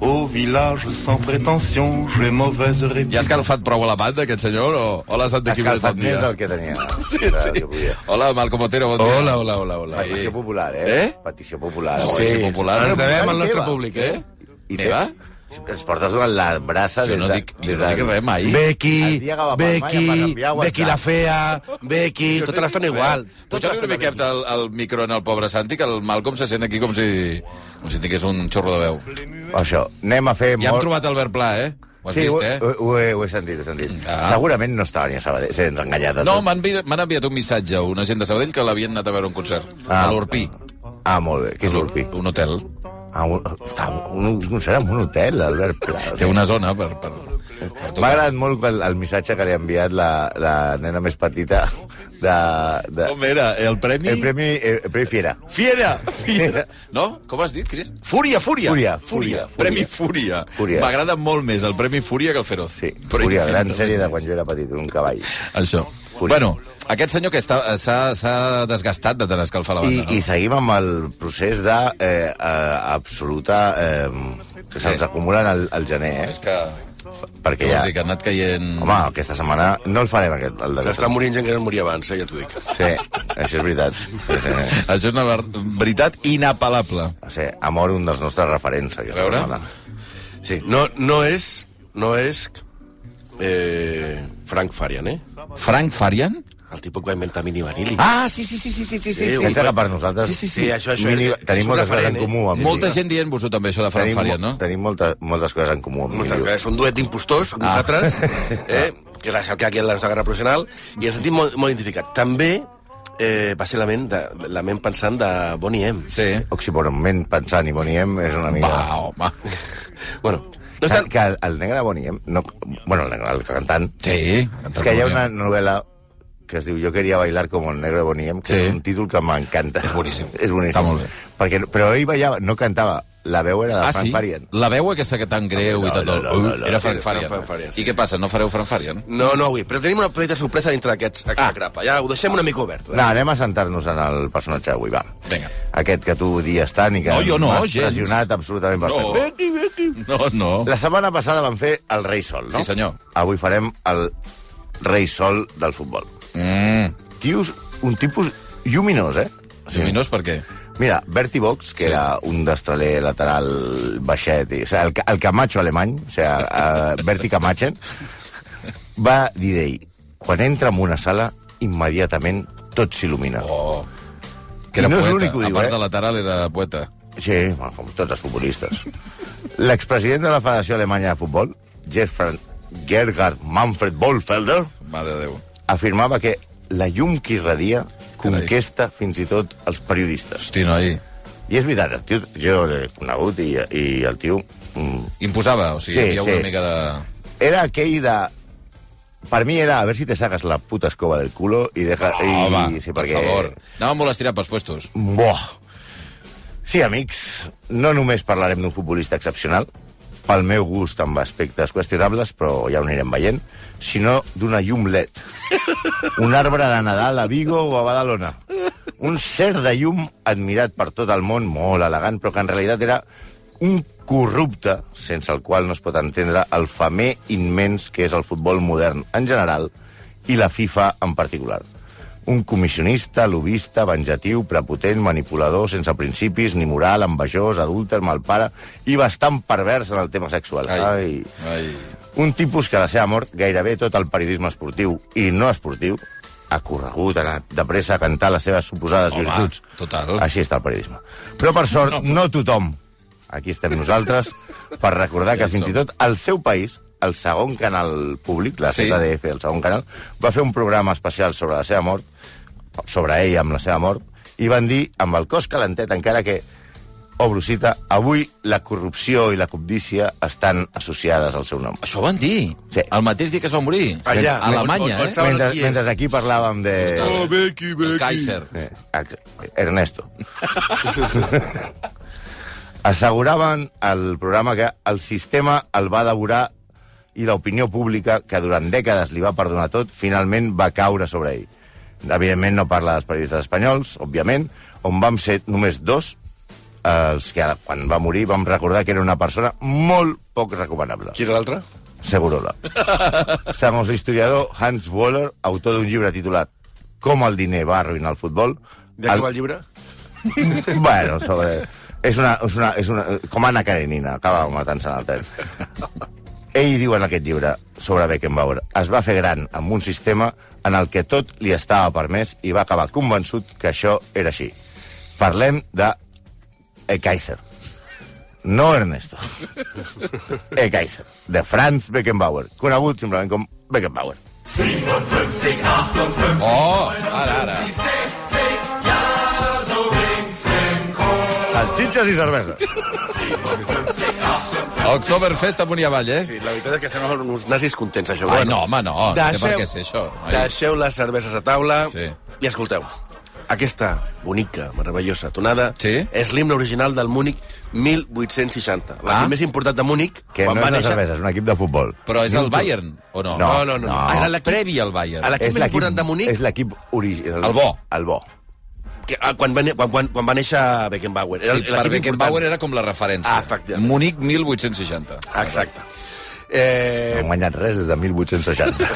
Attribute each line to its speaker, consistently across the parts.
Speaker 1: Au village sans prétention, j'ai mauvaise
Speaker 2: Ja has
Speaker 1: réputation.
Speaker 2: calfat prou a la banda, aquest senyor, o, o l'has
Speaker 3: Escalfat
Speaker 2: d'equilibrar tant
Speaker 3: més
Speaker 2: dia?
Speaker 3: del que tenia.
Speaker 2: Sí,
Speaker 3: del
Speaker 2: sí.
Speaker 3: que volia.
Speaker 2: Hola, Malcom Otero, bon dia.
Speaker 4: Hola, hola, hola, hola.
Speaker 2: Ai,
Speaker 3: Petició popular, eh?
Speaker 2: Eh?
Speaker 3: Petició popular.
Speaker 2: Sí,
Speaker 3: Petició popular.
Speaker 2: ens
Speaker 4: devem al
Speaker 3: I
Speaker 4: nostre
Speaker 3: teva.
Speaker 4: públic, eh?
Speaker 3: I
Speaker 2: Meva?
Speaker 3: Te... Ens portes durant la brassa
Speaker 2: Jo
Speaker 3: des
Speaker 2: no
Speaker 3: de...
Speaker 2: dic, jo
Speaker 3: des
Speaker 2: no
Speaker 3: de-
Speaker 2: dic res mai.
Speaker 3: El
Speaker 4: Becky,
Speaker 3: dia que va palmar ja vas
Speaker 4: Becky,
Speaker 3: enviar WhatsApp.
Speaker 4: Becky la fea, Becky, tota l'estona igual. Tota
Speaker 2: Puja-li una
Speaker 4: l'estona
Speaker 2: miqueta el, el micro en el pobre Santi, que el Malcom se sent aquí com si, com si tingués un xorro de veu.
Speaker 3: Això, anem a fer...
Speaker 2: Ja hem
Speaker 3: molt-
Speaker 2: trobat Albert Pla, eh? Ho has
Speaker 3: sí,
Speaker 2: vist,
Speaker 3: ho,
Speaker 2: eh?
Speaker 3: Ho, ho, he, ho he sentit, ho he sentit.
Speaker 2: Ah.
Speaker 3: Segurament no estava ni a Sabadell, s'ha enganyat. de
Speaker 2: No,
Speaker 3: tot.
Speaker 2: m'han vi- m'han enviat un missatge, una gent de Sabadell, que l'havien anat a veure a un concert. A
Speaker 3: Ah.
Speaker 2: l'Orpí.
Speaker 3: Ah, molt bé, que és l'Urpi.
Speaker 2: Un hotel.
Speaker 3: Ah, un, està, un, un concert en un hotel, Albert Pla. O
Speaker 2: Té
Speaker 3: sigui,
Speaker 2: una zona per... per, per
Speaker 3: M'ha
Speaker 2: tocar.
Speaker 3: agradat molt el, el missatge que li ha enviat la, la nena més petita de... de
Speaker 2: Com era? El premi?
Speaker 3: el premi, eh, el premi Fiera.
Speaker 2: Fiera! Fiera! No? Com has dit, Cris? Fúria, fúria!
Speaker 3: Fúria,
Speaker 2: fúria.
Speaker 3: fúria.
Speaker 2: Premi Fúria.
Speaker 3: Fúria.
Speaker 2: M'agrada molt més el Premi Fúria que el Feroz.
Speaker 3: Sí,
Speaker 2: Però
Speaker 3: Fúria, gran
Speaker 2: infinitament
Speaker 3: sèrie de
Speaker 2: més.
Speaker 3: quan jo era petit, un cavall.
Speaker 2: Això.
Speaker 3: Fúria.
Speaker 2: Bueno, aquest senyor que està- s'ha s'ha desgastat de tant escalfar la
Speaker 3: I,
Speaker 2: banda,
Speaker 3: I
Speaker 2: no?
Speaker 3: seguim amb el procés de eh, eh, absoluta... Eh, que se'ns acumulen al, al gener,
Speaker 2: És
Speaker 3: eh?
Speaker 2: que... Que
Speaker 3: Perquè
Speaker 2: ja.
Speaker 3: ja...
Speaker 2: Dir, que ha anat caient...
Speaker 3: Home, aquesta setmana no el farem, aquest, el de
Speaker 4: S'està morint gent que no moria abans, eh, ja t'ho dic.
Speaker 3: Sí, això és veritat. Sí, sí, sí.
Speaker 2: Això és una ver- veritat inapel·lable.
Speaker 3: Va ser Amor, un dels nostres referents. Aquesta
Speaker 2: A veure.
Speaker 3: setmana.
Speaker 4: Sí, no, no és... No és... Eh, Frank Farian, eh?
Speaker 2: Frank Farian?
Speaker 4: El tipus que va inventar Mini Vanilli.
Speaker 2: Ah, sí, sí, sí, sí, sí, sí, sí.
Speaker 4: Eh,
Speaker 2: sí.
Speaker 3: Pensa que per nosaltres... eh?
Speaker 2: Sí, sí, sí.
Speaker 4: això, això,
Speaker 3: mini,
Speaker 4: és- és
Speaker 3: tenim
Speaker 4: un
Speaker 3: moltes coses en
Speaker 4: referent, eh?
Speaker 3: comú. Amb
Speaker 2: Molta
Speaker 3: Mini.
Speaker 2: gent dient-vos-ho també, això de Frank
Speaker 3: tenim,
Speaker 2: Farian, no?
Speaker 3: Tenim molta, moltes coses en comú. Amb
Speaker 4: Moltes
Speaker 3: Mini.
Speaker 4: gràcies. Un duet d'impostors, ah. nosaltres, eh, que la cercar aquí a la nostra guerra professional, i ens sentim molt, molt identificat. També eh, va ser la ment, de, la ment pensant de Bonnie M.
Speaker 2: Sí.
Speaker 3: Oxymoronment, pensant i Boniem és una mica...
Speaker 2: Va, home.
Speaker 4: Bueno, no
Speaker 2: Ah.
Speaker 3: Que,
Speaker 4: és tant...
Speaker 3: que el, el negre Boniem... No, bueno, el negre, el cantant...
Speaker 2: Sí.
Speaker 3: És que hi ha una novel·la que es diu Jo quería bailar como el negro de Boniem, que
Speaker 2: Sí.
Speaker 3: és un títol que m'encanta.
Speaker 2: És boníssim.
Speaker 3: és boníssim.
Speaker 2: Està molt bé.
Speaker 3: Perquè, però ell ballava, no cantava. La veu era de
Speaker 2: Ah,
Speaker 3: Frank
Speaker 2: sí?
Speaker 3: Farian.
Speaker 2: La veu aquesta que tan greu i
Speaker 3: No,
Speaker 2: tot
Speaker 3: no,
Speaker 2: el...
Speaker 3: no, no, no.
Speaker 2: Era
Speaker 3: Sí,
Speaker 2: Frank
Speaker 4: era
Speaker 2: Farian.
Speaker 4: Frank Farian, sí,
Speaker 2: I què passa, no fareu Frank Farian?
Speaker 4: No, no avui, però tenim una petita sorpresa dintre d'aquests
Speaker 2: Ah.
Speaker 4: extra crapa. Ja ho deixem una mica obert. Eh?
Speaker 3: No, anem a sentar-nos en el personatge d'avui, va.
Speaker 2: Vinga.
Speaker 3: Aquest que tu odies tant i que
Speaker 2: No, jo no,
Speaker 3: m'has
Speaker 2: gens.
Speaker 3: pressionat absolutament per
Speaker 2: No.
Speaker 3: fer.
Speaker 2: No, no.
Speaker 3: La setmana passada vam fer el rei sol, no?
Speaker 2: Sí, senyor.
Speaker 3: Avui farem el rei sol del futbol.
Speaker 2: Mm.
Speaker 3: Tius, un tipus lluminós, eh?
Speaker 2: Sí. Luminós per què?
Speaker 3: Mira, Berti Box, que
Speaker 2: Sí.
Speaker 3: sí. era un destraler lateral baixet, i, o sigui, el, ca- el Camacho alemany, o sigui, eh, Berti Camachen, va dir d'ell, quan entra en una sala, immediatament tot s'il·lumina.
Speaker 2: Oh.
Speaker 3: I
Speaker 2: Que era
Speaker 3: no és
Speaker 2: poeta.
Speaker 3: l'únic que ho
Speaker 2: A
Speaker 3: diu,
Speaker 2: part
Speaker 3: eh?
Speaker 2: de lateral era poeta.
Speaker 3: Sí, bueno, com tots els futbolistes. L'expresident de la Federació Alemanya de Futbol, Gerhard, Gerhard Manfred Bolfelder,
Speaker 2: Mare de Déu.
Speaker 3: afirmava que la llum que irradia conquesta fins i tot els periodistes.
Speaker 2: Hosti, noi.
Speaker 3: I és veritat, el tio, jo l'he conegut i, i el tio... Mm,
Speaker 2: Imposava, o sigui,
Speaker 3: Sí,
Speaker 2: hi havia una
Speaker 3: sí.
Speaker 2: mica de...
Speaker 3: era aquell de... Per mi era, a ver si te sacas la puta escoba del culo i deja... i,
Speaker 2: Ah, Home,
Speaker 3: sí,
Speaker 2: per
Speaker 3: perquè-
Speaker 2: favor. Anava molt estirat pels puestos.
Speaker 3: Buah. Sí, amics, no només parlarem d'un futbolista excepcional, pel meu gust amb aspectes qüestionables, però ja ho anirem veient, sinó d'una llum LED. Un arbre de Nadal a Vigo o a Badalona. Un cert de llum admirat per tot el món, molt elegant, però que en realitat era un corrupte, sense el qual no es pot entendre el famer immens que és el futbol modern en general i la FIFA en particular. Un comissionista, lobista, venjatiu, prepotent, manipulador, sense principis, ni moral, envejós, adúlter, malpare i bastant pervers en el tema sexual.
Speaker 2: Ai. Ai.
Speaker 3: Un tipus que a la seva mort gairebé tot el periodisme esportiu i no esportiu ha corregut, ha anat de pressa a cantar les seves suposades
Speaker 2: Home,
Speaker 3: virtuts.
Speaker 2: total.
Speaker 3: Així està el periodisme. Però per sort, no, tothom. Aquí estem nosaltres per recordar
Speaker 2: Ja
Speaker 3: que
Speaker 2: hi
Speaker 3: fins
Speaker 2: som.
Speaker 3: i tot al seu país, el segon canal públic, la
Speaker 2: Sí.
Speaker 3: ZDF, el segon canal, va fer un programa especial sobre la seva mort, sobre ella amb la seva mort, i van dir, amb el cos calentet, encara que obro cita, avui la corrupció i la cobdícia estan associades al seu nom.
Speaker 2: Això ho van dir.
Speaker 3: Sí.
Speaker 2: El mateix dia que es va morir.
Speaker 4: Allà.
Speaker 2: A Alemanya,
Speaker 4: On- on- on-
Speaker 2: eh?
Speaker 4: Saben
Speaker 3: Mentre,
Speaker 4: qui és.
Speaker 3: mentre aquí parlàvem de...
Speaker 2: Brutal.
Speaker 4: Becky,
Speaker 2: El Kaiser.
Speaker 3: Eh, ex- Ernesto. Asseguraven al programa que el sistema el va devorar i l'opinió pública, que durant dècades li va perdonar tot, finalment va caure sobre ell. Evidentment no parla dels periodistes espanyols, òbviament, on vam ser només dos eh, els que ara, quan va morir vam recordar que era una persona molt poc recomanable.
Speaker 4: Qui era l'altre?
Speaker 3: Segurola. Segons l'historiador Hans Waller, autor d'un llibre titulat Com el diner va arruïnar el futbol...
Speaker 4: De què va el llibre?
Speaker 3: Bueno, sobre... És una, és una, és una, com Anna Karenina, acaba matant-se en el tren. Ell diu en aquest llibre sobre Beckenbauer es va fer gran amb un sistema en el que tot li estava permès i va acabar convençut que això era així. Parlem de E. Kaiser. No Ernesto. E. Kaiser. De Franz Beckenbauer. Conegut simplement com Beckenbauer.
Speaker 5: 57, 58,
Speaker 2: Oh, ara, ara.
Speaker 5: 60, ja, so ging's im Chor.
Speaker 3: Salxitxes i cerveses.
Speaker 5: 57, 58,
Speaker 2: Oktoberfest amunt i avall, eh?
Speaker 4: Sí, la veritat és que semblen uns nazis contents, això.
Speaker 2: Ah, no, home, no. no té per
Speaker 4: Deixeu,
Speaker 2: què ser això. Ai.
Speaker 4: deixeu les cerveses a taula
Speaker 2: Sí.
Speaker 4: i escolteu. Aquesta bonica, meravellosa tonada
Speaker 2: Sí.
Speaker 4: és l'himne original del Múnich 1860. L'equip
Speaker 2: Ah.
Speaker 4: més important de Múnich,
Speaker 3: Que
Speaker 4: quan
Speaker 3: no
Speaker 4: va
Speaker 3: és una
Speaker 4: néixer...
Speaker 3: cervesa, és un equip de futbol.
Speaker 2: Però és el Bayern, o no?
Speaker 3: No,
Speaker 4: No, no, no. no.
Speaker 3: no.
Speaker 4: Ah, És l'equip-
Speaker 2: Previ al Bayern.
Speaker 4: l'equip
Speaker 3: És
Speaker 4: més important de Munic?
Speaker 3: És l'equip original.
Speaker 2: El bo.
Speaker 3: El bo.
Speaker 4: que, ah, quan, va, né- quan, quan, quan va néixer Beckenbauer. Era
Speaker 2: Sí,
Speaker 4: l'equip
Speaker 2: per
Speaker 4: important.
Speaker 2: Beckenbauer era com la referència.
Speaker 4: Ah, efectivament. Ah.
Speaker 2: Múnich 1860.
Speaker 4: Exacte.
Speaker 3: No
Speaker 4: Eh,
Speaker 3: han guanyat res des de 1860.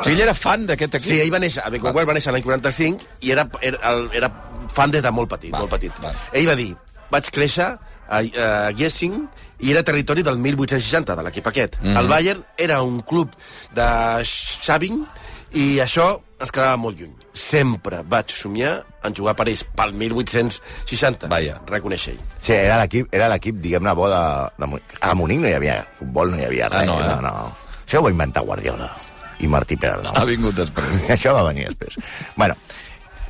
Speaker 2: O sigui, ell era fan d'aquest equip.
Speaker 4: sí, ell va néixer, Beckenbauer va néixer l'any 45 i era, era, el- era fan des de molt petit.
Speaker 2: Val,
Speaker 4: molt petit.
Speaker 2: val.
Speaker 4: Ell va dir, vaig créixer a, a Giesing i era territori del 1860, de l'equip aquest. Mm -hmm. El Bayern era un club de Xaving i això ens quedava molt lluny. Sempre vaig somiar en jugar per ells pel 1860.
Speaker 2: Vaja.
Speaker 4: Reconeix ell.
Speaker 3: sí, era l'equip, era l'equip, diguem-ne, bo de, de Munic. A Munic no hi havia futbol, no hi havia res.
Speaker 2: Ah, no, eh?
Speaker 3: no, no. Això ho va inventar Guardiola i Martí Perarnau.
Speaker 2: Ha vingut després.
Speaker 3: Això va venir després. Bueno,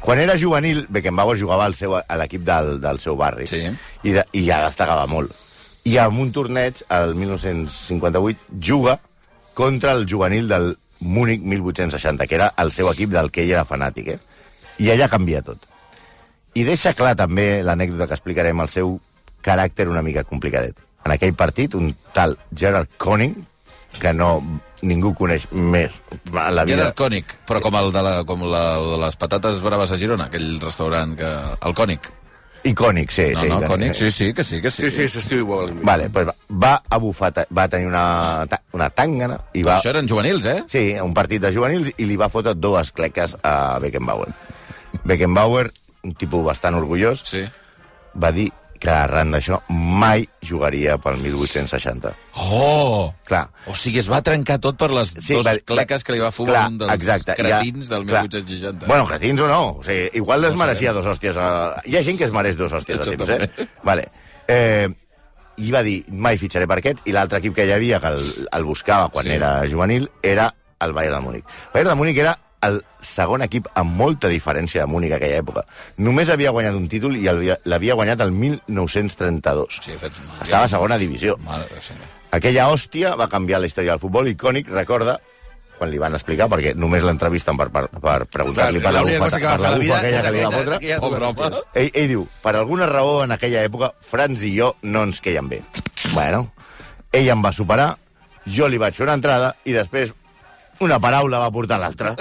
Speaker 3: quan era juvenil, Beckenbauer jugava al seu, a l'equip del, del seu barri.
Speaker 2: Sí.
Speaker 3: I, de, I ja destacava molt. I en un torneig, el 1958, juga contra el juvenil del Múnich 1860, que era el seu equip del que ell era fanàtic, eh? I allà canvia tot. I deixa clar també l'anècdota que explicarem el seu caràcter una mica complicadet. En aquell partit, un tal Gerard Conning, que no ningú coneix més a la vida...
Speaker 2: Gerard Cònic, però com el de, la, com la, de les patates braves a Girona, aquell restaurant que... El Cònic.
Speaker 3: Icònic, sí.
Speaker 2: No,
Speaker 3: sí,
Speaker 2: no,
Speaker 3: icònic.
Speaker 2: Cònic, sí, sí, que sí, que sí.
Speaker 4: eh. Sí, sí, s'estiu igual.
Speaker 3: Vale, pues va, va a bufar, ta- va tenir una, ta- una tàngana i
Speaker 2: Però
Speaker 3: va...
Speaker 2: això eren juvenils, eh?
Speaker 3: Sí, a un partit de juvenils i li va fotre dues cleques a Beckenbauer. Beckenbauer, un tipus bastant orgullós,
Speaker 2: Sí.
Speaker 3: va dir que arran d'això mai jugaria pel 1860.
Speaker 2: Oh!
Speaker 3: Clar,
Speaker 2: O sigui, es va trencar tot per les sí, dos
Speaker 3: va-
Speaker 2: cleques que li va fumar
Speaker 3: clar,
Speaker 2: un dels
Speaker 3: exacte,
Speaker 2: cretins del
Speaker 3: clar.
Speaker 2: 1860.
Speaker 3: Bueno, cretins o no. O sigui, igual
Speaker 2: ho
Speaker 3: es mereixia dos hòsties. A... Hi ha gent que es mereix dos hòsties
Speaker 2: eh? Això
Speaker 3: a temps,
Speaker 2: també.
Speaker 3: eh? Vale. Eh, I va dir, mai fitxaré per aquest, i l'altre equip que hi havia, que el, el buscava quan
Speaker 2: Sí.
Speaker 3: sí. era juvenil, era el Bayern de Múnich. El Bayern de Múnich era el segon equip amb molta diferència de Múnich aquella època. Només havia guanyat un títol i el- l'havia guanyat el 1932.
Speaker 2: Sí, he fet...
Speaker 3: Estava a segona divisió.
Speaker 2: Mare de senyor.
Speaker 3: Aquella hòstia va canviar la història del futbol icònic, recorda, quan li van explicar, perquè només l'entrevisten per, per, per preguntar-li per la
Speaker 4: L'única
Speaker 3: bufeta,
Speaker 4: cosa que va
Speaker 3: per la
Speaker 4: fer a la
Speaker 3: bufa
Speaker 4: vida
Speaker 3: aquella
Speaker 4: és
Speaker 3: que li va
Speaker 4: aquella-
Speaker 3: fotre.
Speaker 4: aquella-
Speaker 2: Pobre home.
Speaker 3: Ell, ell diu, per alguna raó en aquella època, Franz i jo no ens queien bé. Bueno, ell em va superar, jo li vaig fer una entrada i després una paraula va portar l'altra.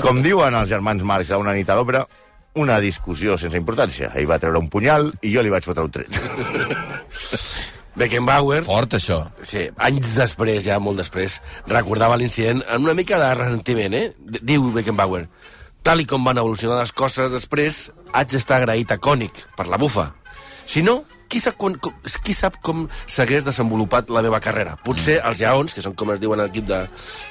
Speaker 3: Com diuen els germans Marx a una nit a l'òpera, una discussió sense importància. Ell va treure un punyal i jo li vaig fotre un tret.
Speaker 4: Beckenbauer
Speaker 2: Fort, això.
Speaker 4: Sí, anys després, ja molt després, recordava l'incident amb una mica de ressentiment, eh? D- Diu Beckenbauer, tal i com van evolucionar les coses després, haig d'estar agraït a Cònic per la bufa. Si no, qui sap, quan, com, qui sap com s'hagués desenvolupat la meva carrera? Potser
Speaker 2: Mm.
Speaker 4: els Jaons, que són com es diuen a l'equip de,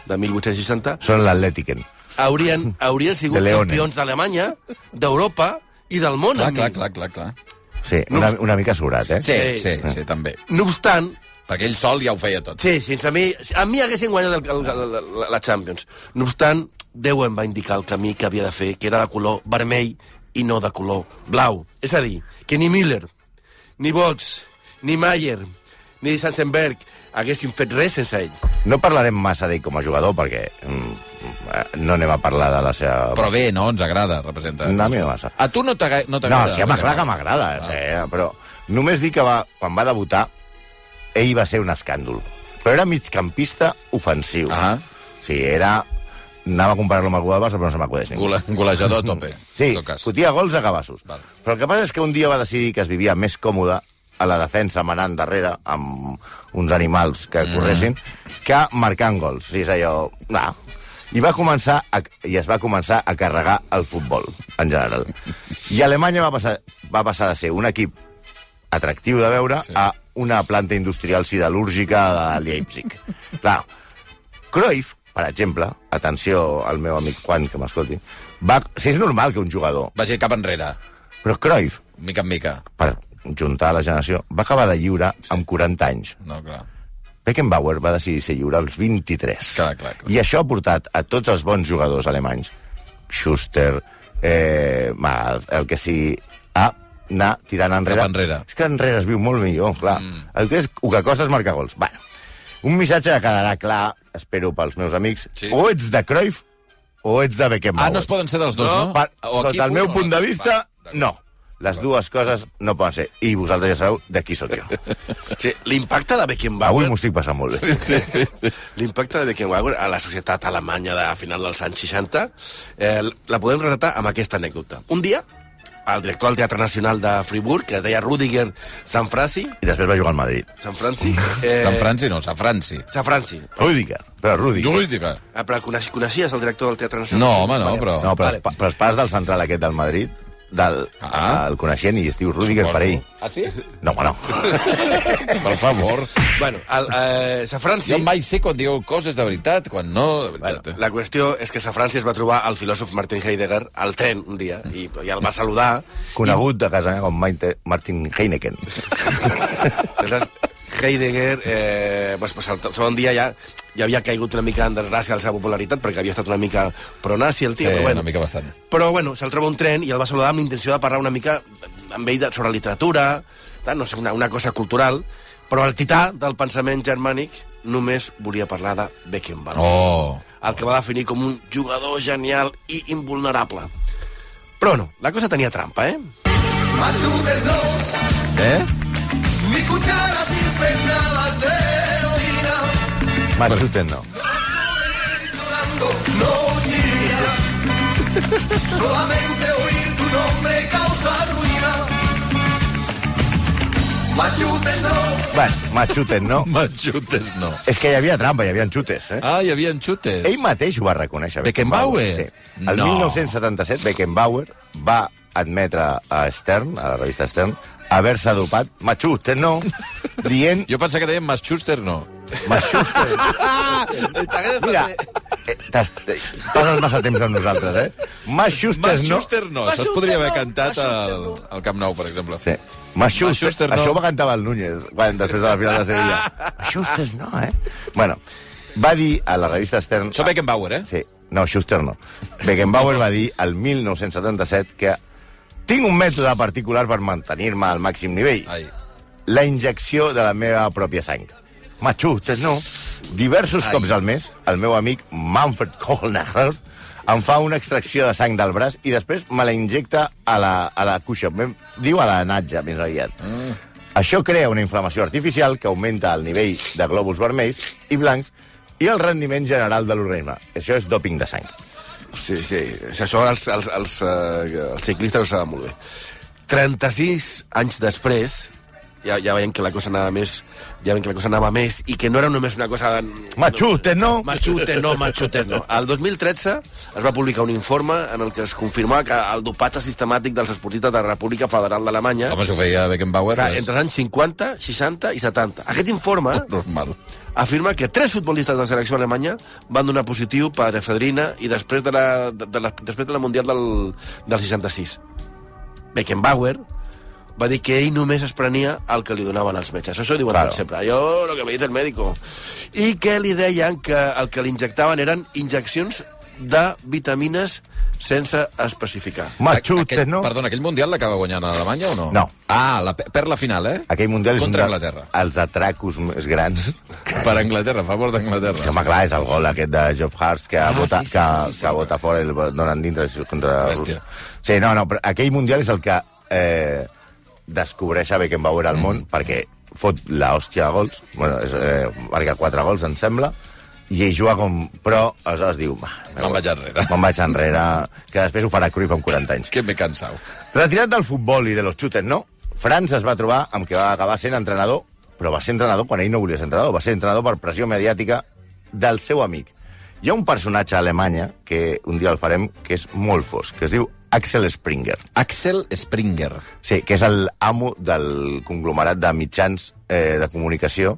Speaker 4: de 1860,
Speaker 3: Són l'Atlétiquen.
Speaker 4: haurien, haurien sigut
Speaker 3: De Leone.
Speaker 4: campions d'Alemanya, d'Europa i del món.
Speaker 2: Clar,
Speaker 4: amb
Speaker 2: clar,
Speaker 4: mi.
Speaker 2: clar, clar, clar.
Speaker 3: Sí, una, una mica sobrat, eh?
Speaker 2: Sí,
Speaker 4: Sí.
Speaker 2: sí, sí, també.
Speaker 4: No obstant,
Speaker 2: Perquè ell sol ja ho feia tot.
Speaker 4: Sí, sense mi... A mi haguessin guanyat el, el, el, la, la Champions. No obstant, Déu em va indicar el camí que havia de fer, que era de color vermell i no de color blau. És a dir, que ni Miller, ni Bots, ni Mayer, ni Sansenberg haguessin fet res sense ell.
Speaker 3: No parlarem massa d'ell com a jugador, perquè mm, eh, no anem a parlar de la seva...
Speaker 2: Però bé, no? Ens agrada, representa.
Speaker 3: No, a mi no massa.
Speaker 2: A tu no t'agra- no
Speaker 3: No,
Speaker 2: t'agrada?
Speaker 3: sí, home, clar que m'agrada,
Speaker 2: Ah.
Speaker 3: sí, eh, però només dir que va, quan va debutar, ell va ser un escàndol. Però era migcampista ofensiu.
Speaker 2: Ah.
Speaker 3: Sí, era Anava a comparar-lo amb el Gol del Barça, però no se m'acudeix ningú.
Speaker 2: Gole, golejador a tope.
Speaker 3: Sí,
Speaker 2: en tot cas.
Speaker 3: fotia gols a cabassos.
Speaker 2: Val.
Speaker 3: Però el que passa és que un dia va decidir que es vivia més còmode a la defensa manant darrere amb uns animals que
Speaker 2: Mm.
Speaker 3: corressin que marcant gols. Sí, és allò... Nah. I, va començar a, I es va començar a carregar el futbol, en general. I Alemanya va passar, va passar de ser un equip atractiu de veure
Speaker 2: Sí.
Speaker 3: sí. a una planta industrial siderúrgica de Leipzig. Clar, Cruyff, per exemple, atenció al meu amic Juan, que m'escolti, va... Si és normal que un jugador
Speaker 2: Vagi cap enrere,
Speaker 3: però Cruyff,
Speaker 2: mica en mica.
Speaker 3: per juntar la generació, va acabar de lliure amb 40 anys.
Speaker 2: No, clar.
Speaker 3: Beckenbauer va decidir ser lliure als 23.
Speaker 2: Clar, clar, clar.
Speaker 3: I això ha portat a tots els bons jugadors alemanys, Schuster, eh, ma- el que sigui, a anar tirant enrere.
Speaker 2: Cap enrere.
Speaker 3: És que enrere es viu molt millor, clar. Mm. El, que és, el que costa és marcar gols. Bueno, un missatge que quedarà clar, espero pels meus amics,
Speaker 2: Sí.
Speaker 3: o ets de Cruyff o ets de Beckenbauer.
Speaker 2: Ah, no es poden ser dels dos, no?
Speaker 3: Per,
Speaker 2: O aquí
Speaker 3: sota el
Speaker 2: un
Speaker 3: meu
Speaker 2: o
Speaker 3: punt de
Speaker 2: l'altre.
Speaker 3: vista,
Speaker 2: Va, d'acord.
Speaker 3: no. Les dues coses no poden ser. I vosaltres ja sabeu de qui sóc jo.
Speaker 4: Sí, L'impacte de Beckenbauer...
Speaker 3: Avui m'ho estic passant molt bé.
Speaker 4: Sí, sí, sí. L'impacte de Beckenbauer a la societat alemanya de final dels anys 60 eh, la podem relatar amb aquesta anècdota. Un dia, el director del Teatre Nacional de Friburg, que es deia Rudiger Sanfranci,
Speaker 3: I després va jugar al Madrid.
Speaker 4: Sanfranci... Eh,
Speaker 2: Sant Franci no, Sant Franci.
Speaker 4: Sanfranci.
Speaker 3: Rúdiga, però Rúdiga.
Speaker 2: Jurídica.
Speaker 4: Ah, però coneix, coneixies el director del Teatre
Speaker 2: No,
Speaker 4: Nacional?
Speaker 2: home,
Speaker 4: de Friburg?
Speaker 2: no,
Speaker 4: Vale.
Speaker 2: però...
Speaker 3: No, però, els, pa- però els pas del central aquest del Madrid, del,
Speaker 2: Ah.
Speaker 3: ah. el coneixent, i es diu Rúdiga per ell.
Speaker 2: Ah, sí?
Speaker 3: No, home, no.
Speaker 2: Per favor.
Speaker 4: Bueno, el, eh, Sanfranci...
Speaker 2: Jo mai sé quan dieu coses de veritat, quan no, de veritat.
Speaker 4: Bueno, la qüestió és que a França es va trobar el filòsof Martin Heidegger al tren un dia i, i el va saludar.
Speaker 3: Conegut de casa meva com Maite- Martin Heineken.
Speaker 4: Aleshores, Heidegger eh, va passar el to- segon dia ja, ja havia caigut una mica en desgràcia la seva popularitat perquè havia estat una mica pronazi el
Speaker 2: Sí,
Speaker 4: tio. però bueno,
Speaker 2: Eh, una mica bastant.
Speaker 4: Però, bueno, se'l troba un tren i el va saludar amb la intenció de parlar una mica amb ell de, sobre literatura, tal, no sé, una, una cosa cultural, però el tità del pensament germànic només volia parlar de Beckenbauer.
Speaker 2: Oh,
Speaker 4: el que va definir com un jugador genial i invulnerable. Però no, la cosa tenia trampa, eh?
Speaker 5: Machuques no,
Speaker 2: eh?
Speaker 5: ni cucharas impregnadas de heroína.
Speaker 3: Machuten, no.
Speaker 5: Llorando no chilla. Solamente oír tu nombre causa ruina. Machutes no,
Speaker 3: Bueno, machuten, no.
Speaker 2: Machutes no.
Speaker 3: És que hi havia trampa, hi havia xutes, eh?
Speaker 2: Ah, hi havia xutes.
Speaker 3: Ell mateix ho va reconèixer.
Speaker 2: Beckenbauer?
Speaker 3: Sí. El
Speaker 2: No.
Speaker 3: 1977, Beckenbauer va admetre a Stern, a la revista Stern, haver-se dopat, machute, no, dient...
Speaker 2: Jo pensava que deien Maschuster no.
Speaker 3: Mira, eh, t'has- eh, passes massa temps amb nosaltres, eh? Machustes, no...
Speaker 2: Maschuster no. Això es podria haver cantat al, al Camp Nou, per exemple.
Speaker 3: Sí. Maschuster,
Speaker 2: Maschuster, no.
Speaker 3: Això ho va cantar el Núñez, quan, després de la final de Sevilla. Maschuster, no, eh? Bueno, va dir a la revista Stern...
Speaker 2: Això Beckenbauer, eh?
Speaker 3: Sí. No, Schuster no. Beckenbauer va dir al 1977 que tinc un mètode particular per mantenir-me al màxim nivell.
Speaker 2: Ai.
Speaker 3: La injecció de la meva pròpia sang. Machustes, no. Diversos
Speaker 2: Ai.
Speaker 3: cops al mes, el meu amic Manfred Kohlner em fa una extracció de sang del braç i després me la injecta a la, a la cuixa. Em Diu a la natja, més aviat. Mm. Això crea una inflamació artificial que augmenta el nivell de glòbuls vermells i blancs i el rendiment general de l'organisme. Això és doping de sang.
Speaker 4: Sí, sí, sí, això als, als, als, eh, als ciclistes ho saben molt bé. 36 anys després, ja, ja veiem que la cosa anava més, ja veiem que la cosa anava més i que no era només una cosa...
Speaker 3: Machustes, no.
Speaker 4: Machute no, machute no. El 2013 es va publicar un informe en el que es confirmava que el dopatge sistemàtic dels esportistes de la República Federal d'Alemanya...
Speaker 2: Home, si ho feia Beckenbauer...
Speaker 4: Clar,
Speaker 2: és
Speaker 4: entre els anys 50, 60 i 70. Aquest informe
Speaker 2: Normal.
Speaker 4: afirma que tres futbolistes de la selecció alemanya van donar positiu per efedrina i després de la, de, de la, després de la Mundial del, del 66. Beckenbauer va dir que ell només es prenia el que li donaven els metges. Això ho diuen
Speaker 3: Claro.
Speaker 4: claro. sempre. Jo, lo que me dice el médico. I que li deien que el que li injectaven eren injeccions de vitamines sense especificar.
Speaker 3: Machustes,
Speaker 2: Aquell-
Speaker 3: no.
Speaker 2: Perdona, aquell Mundial l'acaba guanyant a Alemanya o no?
Speaker 3: No.
Speaker 2: Ah, la, pe- perd la final, eh?
Speaker 3: Aquell mundial és un
Speaker 2: Contra
Speaker 3: dels-
Speaker 2: Anglaterra.
Speaker 3: els atracos més grans
Speaker 2: Per Anglaterra, a favor
Speaker 3: Sí,
Speaker 2: d'Anglaterra.
Speaker 3: Doncs, home, clar, és el gol aquest de Geoff Hurst que, ah, vota,
Speaker 2: sí, sí,
Speaker 3: que,
Speaker 2: sí, sí, sí.
Speaker 3: que vota fora i el donen dintre contra
Speaker 2: Bèstia.
Speaker 3: Rússia. Sí, no, no, però aquell Mundial és el que eh, descobreix a Beckenbauer al món mm. perquè fot l'hòstia de gols, bueno, és, eh, marca quatre gols, em sembla, i hi juga com... Però aleshores diu... "Va,
Speaker 2: Me'n vaig enrere."
Speaker 3: Me'n vaig enrere, que després ho farà Cruyff amb 40 anys.
Speaker 2: Que me cansau.
Speaker 3: Retirat del futbol i de los chutes, no? França es va trobar amb que va acabar sent entrenador, però va ser entrenador quan ell no volia ser entrenador, va ser entrenador per pressió mediàtica del seu amic. Hi ha un personatge a Alemanya, que un dia el farem, que és molt fosc, que es diu Axel Springer.
Speaker 2: Axel Springer.
Speaker 3: Sí, que és el amo del conglomerat de mitjans eh, de comunicació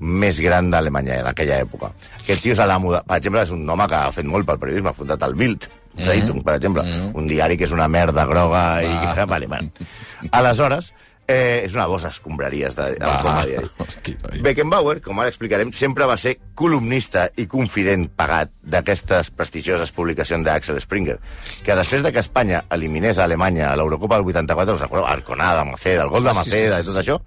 Speaker 3: més gran d'Alemanya en aquella època. Aquest tio és l'amo... De... Per exemple, és un home que ha fet molt pel periodisme, ha fundat el Bild,
Speaker 2: Mm-hmm.
Speaker 3: Zeitung, per exemple, un diari que és una merda groga i...
Speaker 2: Va.
Speaker 3: Vale, vale. Aleshores, eh, és una bossa escombraries de, de
Speaker 2: Va.
Speaker 3: com a diari.
Speaker 2: Hosti, Ah, noi.
Speaker 3: Beckenbauer, com ara explicarem, sempre va ser columnista i confident pagat d'aquestes prestigioses publicacions d'Axel Springer, que després de que Espanya eliminés a Alemanya a l'Eurocopa del 84, us recordeu? Arconada, Maceda, el gol de
Speaker 2: Ah, sí, sí,
Speaker 3: Maceda
Speaker 2: sí,
Speaker 3: i tot això,